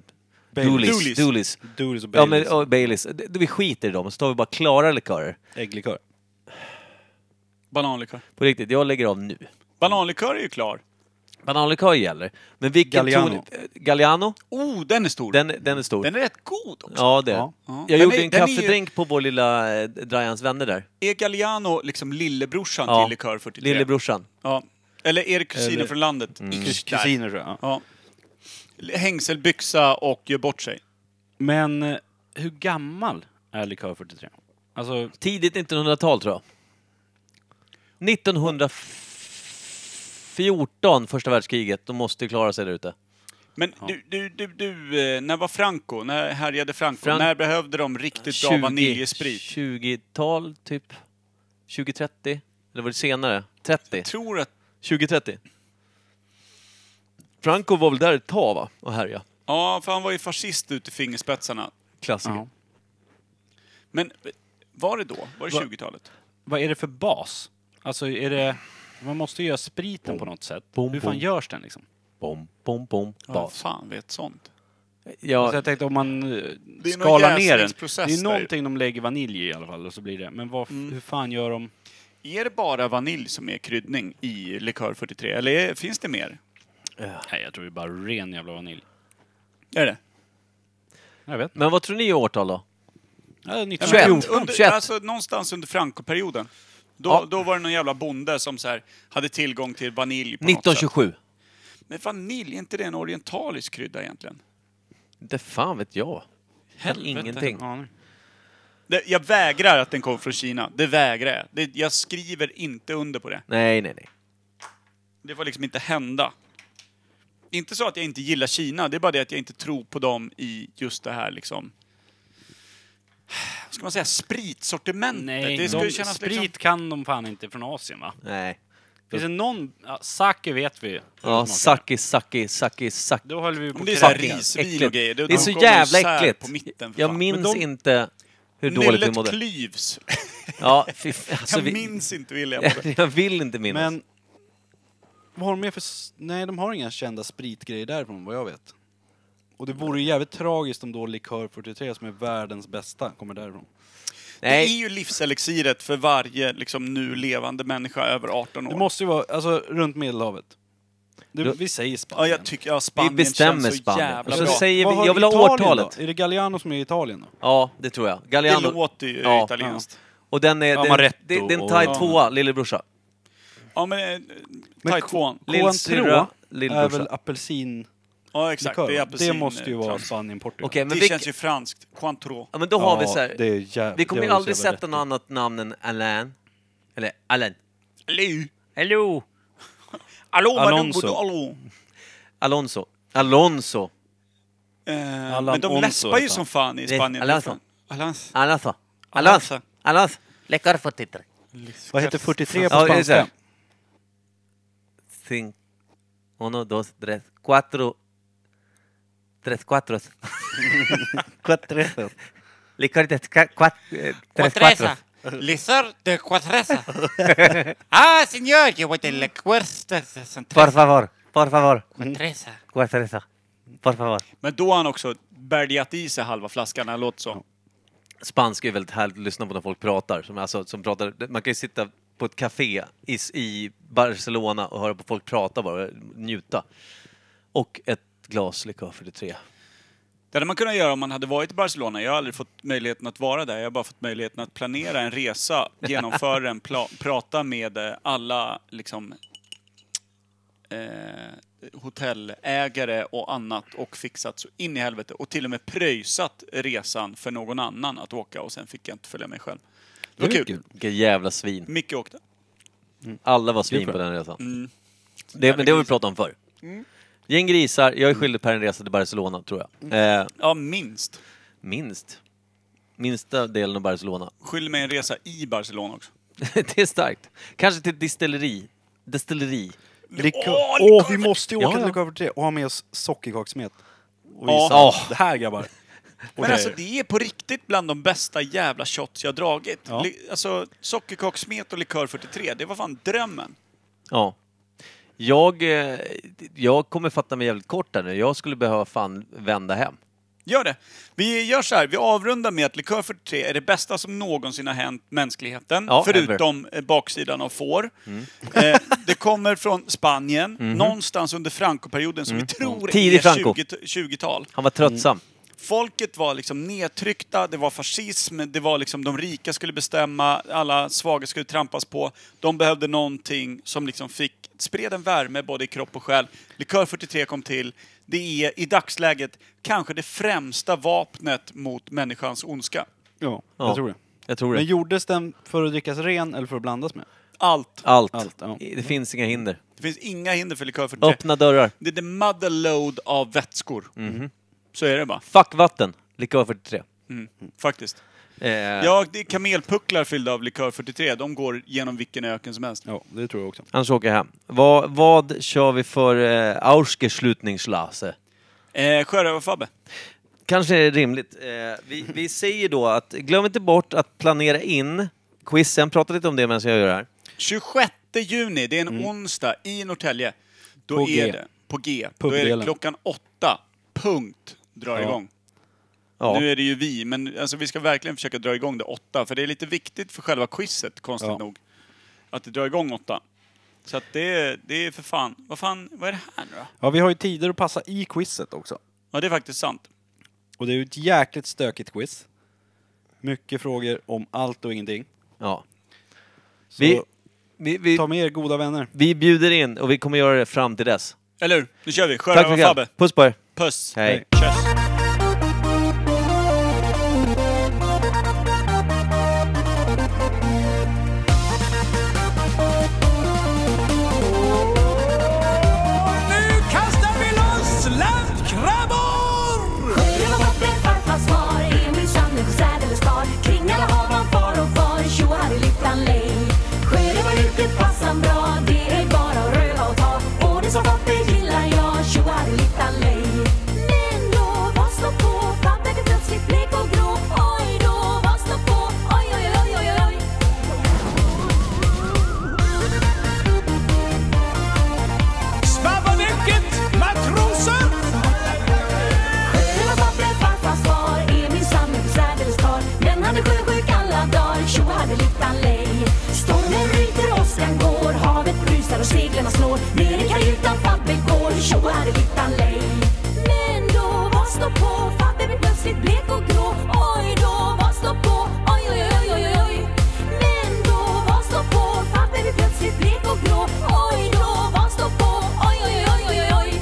Speaker 2: Dooleys.
Speaker 1: Dooleys.
Speaker 2: Dooleys.
Speaker 6: Doodles och
Speaker 2: Ja,
Speaker 6: Baileys.
Speaker 2: men och Baileys. Det- det- Vi skiter i dem och så tar vi bara klara likörer.
Speaker 6: Ägglikör.
Speaker 1: Bananlikör.
Speaker 2: På riktigt, jag lägger av nu.
Speaker 1: Bananlikör är ju klar.
Speaker 2: Bananlikör gäller. Men vilken
Speaker 6: Galliano.
Speaker 2: tror ni- eh, Galliano,
Speaker 1: Oh, den är stor. Den,
Speaker 2: den, den är stor.
Speaker 1: är rätt god också.
Speaker 2: Ja, det är
Speaker 6: Ja.
Speaker 2: den.
Speaker 1: Ja.
Speaker 2: Jag
Speaker 1: Den
Speaker 2: gjorde
Speaker 1: är-
Speaker 2: en
Speaker 1: den är ju-
Speaker 2: kaffedrink på vår lilla eh, Drajans vänner där.
Speaker 1: Är Galliano liksom lillebrorsan
Speaker 2: Ja.
Speaker 1: till Likör 43?
Speaker 2: Lillebrorsan.
Speaker 1: Ja. Eller är det kusiner
Speaker 6: Eller- Mm.
Speaker 1: från landet? Ish, Mm. där.
Speaker 6: Kusiner tror jag. ja.
Speaker 1: Ja. Hängselbyxa och gör bort sig.
Speaker 6: Men eh, hur gammal är likör 43? Alltså,
Speaker 2: Tidigt 1900-tal tror jag. 1914, första världskriget, de måste ju klara sig där ute.
Speaker 1: Men du, du, du, du, eh, när var Franco? När härjade Franco?
Speaker 2: Fran-
Speaker 1: när behövde de riktigt bra vaniljesprit?
Speaker 2: 20-tal, typ. 2030? Eller var det senare? 30?
Speaker 1: Tror att...
Speaker 2: 2030? Franco var väl där ett tag, va? Och härja.
Speaker 1: Ja, för han var ju fascist ut i fingerspetsarna.
Speaker 2: Klassiker.
Speaker 6: Ja.
Speaker 1: Men eh, var det då? Var det
Speaker 3: Va-
Speaker 1: 20-talet?
Speaker 3: Vad är det för bas? Alltså är det... Man måste ju göra spriten på något sätt.
Speaker 2: Bom,
Speaker 3: Hur fan
Speaker 2: bom.
Speaker 3: görs den liksom?
Speaker 2: Bom, bom, bom,
Speaker 1: Vad
Speaker 2: bas.
Speaker 1: fan vet sånt?
Speaker 3: Så
Speaker 2: Ja,
Speaker 3: Alltså, jag tänkte om man eh,
Speaker 1: någon
Speaker 3: skalar ner den. Det
Speaker 1: jäsningsprocess
Speaker 3: är
Speaker 1: där. Mm.
Speaker 3: någonting de lägger vanilj i i alla fall och så blir det. Men vad, hur fan gör de?
Speaker 1: Är det bara vanilj som är kryddning i Likör 43? Eller är, finns det mer?
Speaker 3: Nej, jag tror det är bara ren jävla vanilj.
Speaker 1: Är det?
Speaker 3: Jag vet inte.
Speaker 2: men vad tror ni är årtal då?
Speaker 3: Ja,
Speaker 1: Nej,
Speaker 2: 21.
Speaker 1: men
Speaker 3: 1914.
Speaker 1: Under,
Speaker 2: 21.
Speaker 1: Alltså någonstans under Franco-perioden. Då,
Speaker 2: Ja.
Speaker 1: då var det någon jävla bonde som så här, hade tillgång till vanilj på något sätt.
Speaker 2: 1927.
Speaker 1: Men vanilj, är inte det en orientalisk krydda egentligen?
Speaker 2: Inte fan vet jag.
Speaker 1: Helvete.
Speaker 2: Ingenting.
Speaker 3: Ja, nej.
Speaker 1: Det, jag vägrar att den kom från Kina. Det vägrar jag. Det, jag skriver inte under på det.
Speaker 2: Nej, nej, nej.
Speaker 1: Det får liksom inte hända. Inte så att jag inte gillar Kina, det är bara det att jag inte tror på dem i just det här liksom... Vad ska man säga? Spritsortimentet.
Speaker 3: Nej,
Speaker 1: det
Speaker 3: det
Speaker 1: skulle
Speaker 3: de,
Speaker 1: kännas
Speaker 3: sprit
Speaker 1: liksom...
Speaker 3: kan de fan inte från Asien va?
Speaker 2: nej.
Speaker 3: Finns det någon... Ja, sake vet vi. hur
Speaker 2: Ja,
Speaker 3: det smakar.
Speaker 2: saki, saki, saki, saki.
Speaker 3: Då håller vi på
Speaker 1: Men det är alltså. så här
Speaker 3: kräkningar.
Speaker 1: risvin
Speaker 2: Äckligt.
Speaker 1: och grejer.
Speaker 2: Det är
Speaker 1: de
Speaker 2: så
Speaker 1: kommer
Speaker 2: jävla
Speaker 1: isär
Speaker 2: äckligt.
Speaker 1: På mitten, för
Speaker 2: jag
Speaker 1: fan.
Speaker 2: minns
Speaker 1: Men de-
Speaker 2: inte hur dåligt vi
Speaker 1: Nyllet
Speaker 2: mådde.
Speaker 1: klyvs.
Speaker 2: Ja, fy f- alltså,
Speaker 1: jag
Speaker 2: vi,
Speaker 1: minns inte William. Det.
Speaker 2: jag vill inte minnas.
Speaker 6: Men vad har de mer för... s- Nej, de har inga kända spritgrejer därifrån vad jag vet. Och det vore ju jävligt tragiskt om då Likör 43 som är världens bästa kommer därifrån.
Speaker 1: det är
Speaker 2: nej,
Speaker 1: ju livselixiret för varje liksom, nu levande människa över 18 år.
Speaker 6: Det måste ju vara, alltså runt Medelhavet. Det,
Speaker 2: Du-
Speaker 6: vi säger Spanien.
Speaker 1: Ja, jag tycker ja,
Speaker 2: vi
Speaker 1: Spanien
Speaker 2: bestämmer
Speaker 1: känns så
Speaker 2: Spanien.
Speaker 1: jävla
Speaker 2: Och så
Speaker 1: bra.
Speaker 2: säger
Speaker 6: Vad
Speaker 2: vi,
Speaker 6: har
Speaker 2: jag vill ha
Speaker 6: Italien
Speaker 2: årtalet.
Speaker 6: Då? Är det Galliano som är i Italien då?
Speaker 2: Ja, det tror jag. Galliano.
Speaker 1: Det låter ju
Speaker 2: Ja,
Speaker 1: italienskt.
Speaker 2: Och den är... Den, det,
Speaker 3: Amaretto
Speaker 2: det är en
Speaker 3: och-
Speaker 2: thai tvåa, lillebrorsa.
Speaker 1: Ja, men... eh, Thai
Speaker 6: ko-
Speaker 1: tvåan.
Speaker 2: Lillsyrra,
Speaker 6: är väl
Speaker 2: lillbrorsa.
Speaker 6: apelsin...
Speaker 1: Ja, exakt. Det är apelsin.
Speaker 6: det måste ju
Speaker 1: eh,
Speaker 6: vara
Speaker 1: fransk.
Speaker 6: Spanien, Portugal.
Speaker 2: Okej, men
Speaker 1: det
Speaker 2: vi,
Speaker 1: känns ju franskt. Cointreau.
Speaker 2: ja, men då har
Speaker 6: Ja,
Speaker 2: vi så här,
Speaker 6: det är jävligt-
Speaker 2: Vi kommer
Speaker 6: det
Speaker 2: ju
Speaker 6: har du
Speaker 2: aldrig
Speaker 6: så jävla
Speaker 2: sätta
Speaker 6: rätt
Speaker 2: något annat namn än Alain. Eller Alain.
Speaker 1: Hallå!
Speaker 2: Hello!
Speaker 1: Hallå, vad du Eh,
Speaker 6: Alonso.
Speaker 1: går hallå!
Speaker 2: Alonso. Alonso.
Speaker 1: Eh,
Speaker 6: Allan
Speaker 1: Men de
Speaker 6: Onso
Speaker 1: läspar ju
Speaker 6: heter han.
Speaker 1: som fan i
Speaker 2: Det-
Speaker 1: Spanien.
Speaker 2: Alonso.
Speaker 1: Alonso.
Speaker 2: Alonso.
Speaker 1: Alonso.
Speaker 2: Alonso. Alonso. Läckar för tittare.
Speaker 6: Vad heter 43 på
Speaker 2: Ja, det är så här.
Speaker 6: spanska?
Speaker 2: Cinco. Uno, dos, tres, cuatro. Tres cuatros.
Speaker 6: Quattrezas.
Speaker 2: Licor de ca- cua- eh, tres cuatros.
Speaker 7: Lizard de cuatreza. ah, señor, yo voy de la cuesta
Speaker 2: Por favor. Por favor.
Speaker 7: cuatreza.
Speaker 2: Cuatresa. Por favor.
Speaker 1: Men då har han också bärgat i sig halva flaskan, han låter så.
Speaker 2: Spanska är väldigt härligt att lyssna på när folk pratar. Som, alltså, som pratar man kan ju sitta på ett café i, i Barcelona och höra på folk prata bara och njuta. Och ett glas likör 43.
Speaker 1: Det hade man kunnat göra om man hade varit i Barcelona. Jag har aldrig fått möjligheten att vara där. Jag har bara fått möjligheten att planera en resa, genomföra den, pla- prata med eh, alla liksom, eh, hotellägare och annat och fixat så in i helvete. Och till och med pröjsat resan för någon annan att åka och sen fick jag inte följa med själv. Det var kul.
Speaker 2: Vilka jävla svin.
Speaker 1: Micke åkte.
Speaker 2: Alla var svin
Speaker 6: Kul
Speaker 2: på
Speaker 6: för
Speaker 2: den resan.
Speaker 6: Mm.
Speaker 2: Det, men det har vi pratat om förr. Gäng grisar, jag är skyldig per en resa till Barcelona tror
Speaker 6: Mm.
Speaker 2: jag. Eh,
Speaker 1: Ja, minst.
Speaker 2: minst. Minsta delen av Barcelona.
Speaker 1: Skyll mig en resa i Barcelona också.
Speaker 2: det är starkt. Kanske till ett distilleri. Destilleri.
Speaker 6: Likör-
Speaker 1: Åh,
Speaker 6: Åh,
Speaker 1: likör-
Speaker 6: vi måste ju åka
Speaker 2: Ja, ja.
Speaker 6: till Likör 43 och ha med oss sockerkaksmet. Och
Speaker 1: Ja.
Speaker 6: visa.
Speaker 2: Ja.
Speaker 6: Det här grabbar. Och
Speaker 1: Men
Speaker 6: det-
Speaker 1: alltså det är på riktigt bland de bästa jävla shots jag dragit.
Speaker 6: Ja.
Speaker 1: Li- Alltså sockerkaksmet och likör 43, det var fan drömmen.
Speaker 2: Ja. Jag, eh, jag kommer fatta mig jävligt kort här nu. Jag skulle behöva fan vända hem.
Speaker 1: Gör det! Vi gör så här, vi avrundar med att likör 43 är det bästa som någonsin har hänt mänskligheten.
Speaker 2: Ja,
Speaker 1: förutom eh, baksidan av får. Eh, det kommer från Spanien, någonstans under Franco-perioden som vi tror
Speaker 2: Tidig
Speaker 1: är
Speaker 2: Franco.
Speaker 1: 20 20-tal.
Speaker 2: Han var tröttsam.
Speaker 6: Mm.
Speaker 1: Folket var liksom nedtryckta, det var fascism, det var liksom de rika skulle bestämma, alla svaga skulle trampas på. De behövde någonting som liksom fick, spred en värme både i kropp och själ. Likör 43 kom till. Det är i dagsläget kanske det främsta vapnet mot människans ondska.
Speaker 6: Ja,
Speaker 2: Ja.
Speaker 6: jag tror det.
Speaker 2: Jag tror det.
Speaker 6: Men gjordes den för att drickas ren eller för att blandas med?
Speaker 1: Allt.
Speaker 2: Allt.
Speaker 6: Allt, ja. Mm.
Speaker 2: Det finns inga hinder.
Speaker 1: Det finns inga hinder för likör 43.
Speaker 2: Öppna dörrar.
Speaker 1: Det är the mother load av vätskor. Så är det bara,
Speaker 2: Fuck vatten. Likör 43.
Speaker 1: faktiskt.
Speaker 2: Eh,
Speaker 1: Ja, det är kamelpucklar fyllda av likör 43. De går genom vilken öken som helst.
Speaker 6: Ja, det tror jag också.
Speaker 2: Annars åker jag hem. Vad, vad kör vi för eh, Ausgeslutningslase?
Speaker 1: Eh, Sjörövarfabbe.
Speaker 2: Kanske är det rimligt. Eh, vi, vi säger då att glöm inte bort att planera in quizen. Prata lite om det medan jag gör det här.
Speaker 1: 26 juni, det är en onsdag i Norrtälje. Då
Speaker 6: Mm. På
Speaker 1: är
Speaker 6: G.
Speaker 1: det på G. Då är
Speaker 6: Pubdelen.
Speaker 1: det klockan åtta, punkt, drar
Speaker 6: Ja.
Speaker 1: igång.
Speaker 2: Ja.
Speaker 1: Nu är det ju vi, men alltså, vi ska verkligen försöka dra igång det åtta. För det är lite viktigt för själva quizet, konstigt
Speaker 6: Ja.
Speaker 1: nog. Att det drar igång åtta. Så att det, är- det är för fan. Vad fan, vad är det här nu då?
Speaker 6: Ja, vi har ju tider att passa i quizet också.
Speaker 1: Ja, det är faktiskt sant.
Speaker 6: Och det är ju ett jäkligt stökigt quiz. Mycket frågor om allt och ingenting.
Speaker 2: Ja.
Speaker 6: Så
Speaker 2: Vi, vi, vi,
Speaker 6: ta med er goda vänner.
Speaker 2: vi bjuder in och vi kommer göra det fram till dess.
Speaker 1: Eller hur? Nu kör vi!
Speaker 2: Tack så
Speaker 1: Sjörövarfabbe.
Speaker 2: mycket. Puss på er.
Speaker 1: Puss!
Speaker 2: Hej.
Speaker 1: Tjöss!
Speaker 8: Genom vatten, farfars far, Emil, Sanne, Skär eller Spar Kring alla har man far och far, tjo här i Lyttan lej Sjörövaryrket passar bra, det är bara att röva och ta Ordning som Fabbe gillar jag, tjo här i Lyttan lej Men då, vad slår på? Fabbe blir plötsligt blek och grå Oj då, vad slår på? Oj, oj, oj, oj, oj, oj Hela Babben farfars far är minsann en särdelskar Men han är sjösjuk alla dagar, tjo hade littan lej Stormen ryter, åskan går, havet brusar och seglarna slår Ner i kajutan Fabbe går, tjo hade littan lej Men då, vad står på? Fabbe blir plötsligt blek och grå Oj då, vad står på? Oj, oj, oj, oj, oj, oj Men då, vad står på? Fabbe blir plötsligt blek och grå Oj då, vad står på? Oj, oj, oj, oj, oj, oj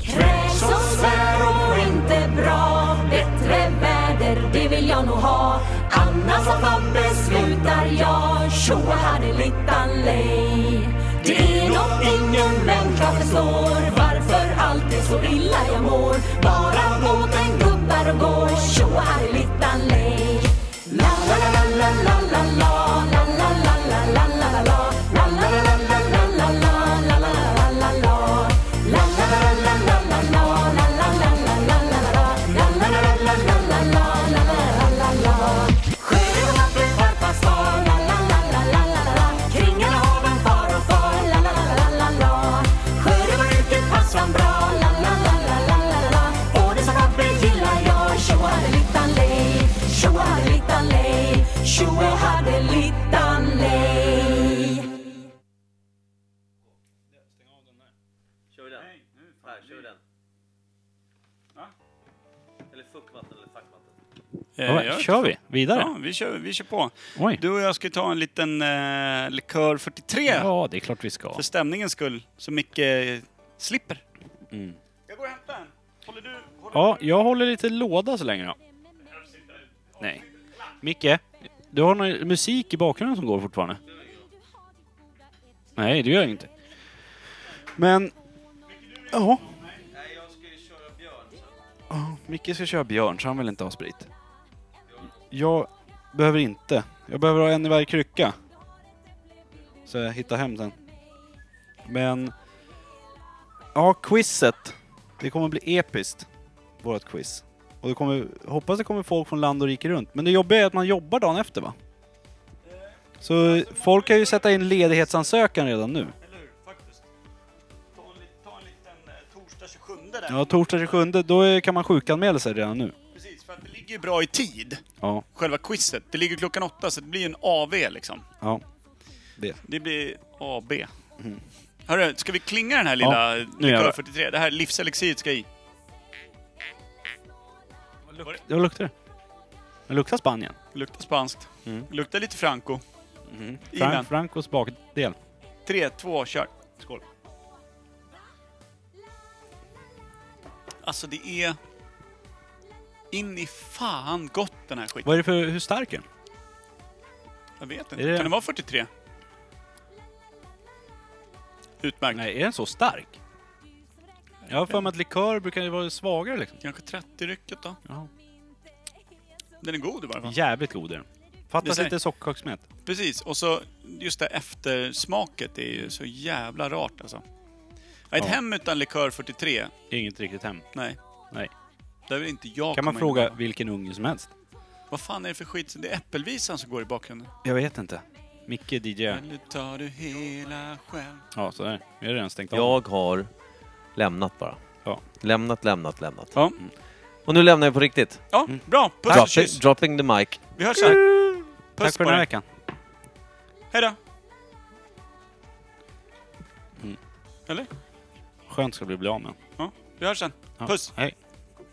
Speaker 8: Kräks och svär och inte bra Bättre väder, det vill jag nog ha Annars som Fabbe slutar jag Tjoa hadelittan lej Det är något ingen människa förstår Varför allt är så illa jag mår Bara båten gubbar och går Tjoa hadelittan lej La la la la la la la la la la la la la la la La la la la la la la la la la la la la La la la la la la la la la la la la la la la La la la la la la la la la la la la Sjörövarmappen farfars far La la la la la la la Kringarna haven far och far La la la la la la Sjörövaryrket passar bra La la la la la la la Och det som Fabbe gillar jag Tjoa hadelittan lej Tjoa hadelittan lej Tjoa hadelittan lej
Speaker 2: Kör vi den? Nej, nu här, kör vi den. Eller fuckvatten eller fackvatten.
Speaker 1: Eh,
Speaker 3: Ja,
Speaker 1: jag-
Speaker 3: kör vi vidare?
Speaker 1: Ja, vi kör, vi kör på.
Speaker 3: Oj.
Speaker 1: Du och jag ska ta en liten eh, likör 43.
Speaker 3: Ja, det är klart vi ska.
Speaker 1: För stämningens skull. Så Micke eh, slipper.
Speaker 3: Mm.
Speaker 1: Jag går och hämtar en. Håller du? Håller
Speaker 3: Ja, jag håller lite låda så länge då. Nej. Micke, du har någon musik i bakgrunden som går fortfarande? Nej, det gör jag inte.
Speaker 6: Men, ja.
Speaker 2: Nej, jag ska ju köra Björn.
Speaker 6: Micke ska köra björn, så han vill inte ha sprit. Jag behöver inte. Jag behöver ha en i varje krycka. Så jag hittar hem sen. Men... Ja, quizet. Det kommer bli episkt. Vårt quiz. Och det kommer, hoppas det kommer folk från land och rike runt. Men det jobbiga är att man jobbar dagen efter va? Så folk kan ju sätta in ledighetsansökan redan nu.
Speaker 1: Eller hur? Faktiskt. Ta en, lit- ta en liten eh, torsdag 27 där.
Speaker 6: Ja, torsdag 27, då är- kan man sjukanmäla sig redan nu.
Speaker 1: Precis, för att det ligger ju bra i tid.
Speaker 6: Ja,
Speaker 1: Själva quizet. Det ligger klockan åtta så det blir ju en AV liksom.
Speaker 6: ja.
Speaker 1: Det blir AB. Hörru, ska vi klinga den här lilla
Speaker 6: Mm. nu gör
Speaker 1: likör
Speaker 6: vi.
Speaker 1: 43? Det här livselixiret ska i.
Speaker 6: Vad luktar det? Det luktar Spanien.
Speaker 1: Luktar spanskt.
Speaker 6: Mm.
Speaker 1: Luktar lite franco. I den.
Speaker 3: Frank, Francos bakdel.
Speaker 1: Tre, två, kör. Skål. Alltså det är... in i fan gott den här skiten.
Speaker 6: Vad är det för, hur stark är den?
Speaker 1: Jag vet
Speaker 6: Är
Speaker 1: inte.
Speaker 6: det-
Speaker 1: Kan det vara 43? Utmärkt.
Speaker 6: Nej, är den så stark? Jag har för mig att likör brukar ju vara svagare liksom.
Speaker 1: Kanske 30-rycket då?
Speaker 6: Jaha.
Speaker 1: Den är god i varje fall.
Speaker 6: Jävligt god är den. Fattas
Speaker 1: Det är-
Speaker 6: lite sockerkaksmet.
Speaker 1: Precis, och så just det eftersmaket är ju så jävla rart alltså. Ja, ett
Speaker 6: Ja.
Speaker 1: hem utan likör 43,
Speaker 6: Inget riktigt hem.
Speaker 1: nej.
Speaker 6: Nej.
Speaker 1: Där vill inte jag
Speaker 6: Kan man
Speaker 1: komma
Speaker 6: fråga
Speaker 1: In.
Speaker 6: vilken unge som helst?
Speaker 1: Vad fan är det för skit? Det är äppelvisan som går i bakgrunden.
Speaker 6: Jag vet inte. Micke DJ.
Speaker 1: Eller tar du hela själv?
Speaker 6: Ja, sådär. Jag har redan stängt av.
Speaker 2: Jag har lämnat bara.
Speaker 6: Ja.
Speaker 2: Lämnat, lämnat, lämnat.
Speaker 1: Ja.
Speaker 2: Och nu lämnar jag på riktigt.
Speaker 1: Ja, bra! Puss och
Speaker 2: Dropping,
Speaker 1: kyss!
Speaker 2: dropping the mic.
Speaker 1: Vi hörs sen!
Speaker 6: Mm. Tack
Speaker 1: Puss
Speaker 6: för
Speaker 1: på
Speaker 6: den
Speaker 1: dig!
Speaker 6: här veckan.
Speaker 1: Hejdå!
Speaker 6: Mm. Skönt ska det bli att bli av med den.
Speaker 1: Ja, vi hörs sen!
Speaker 6: Ja.
Speaker 1: Puss!
Speaker 6: Hej.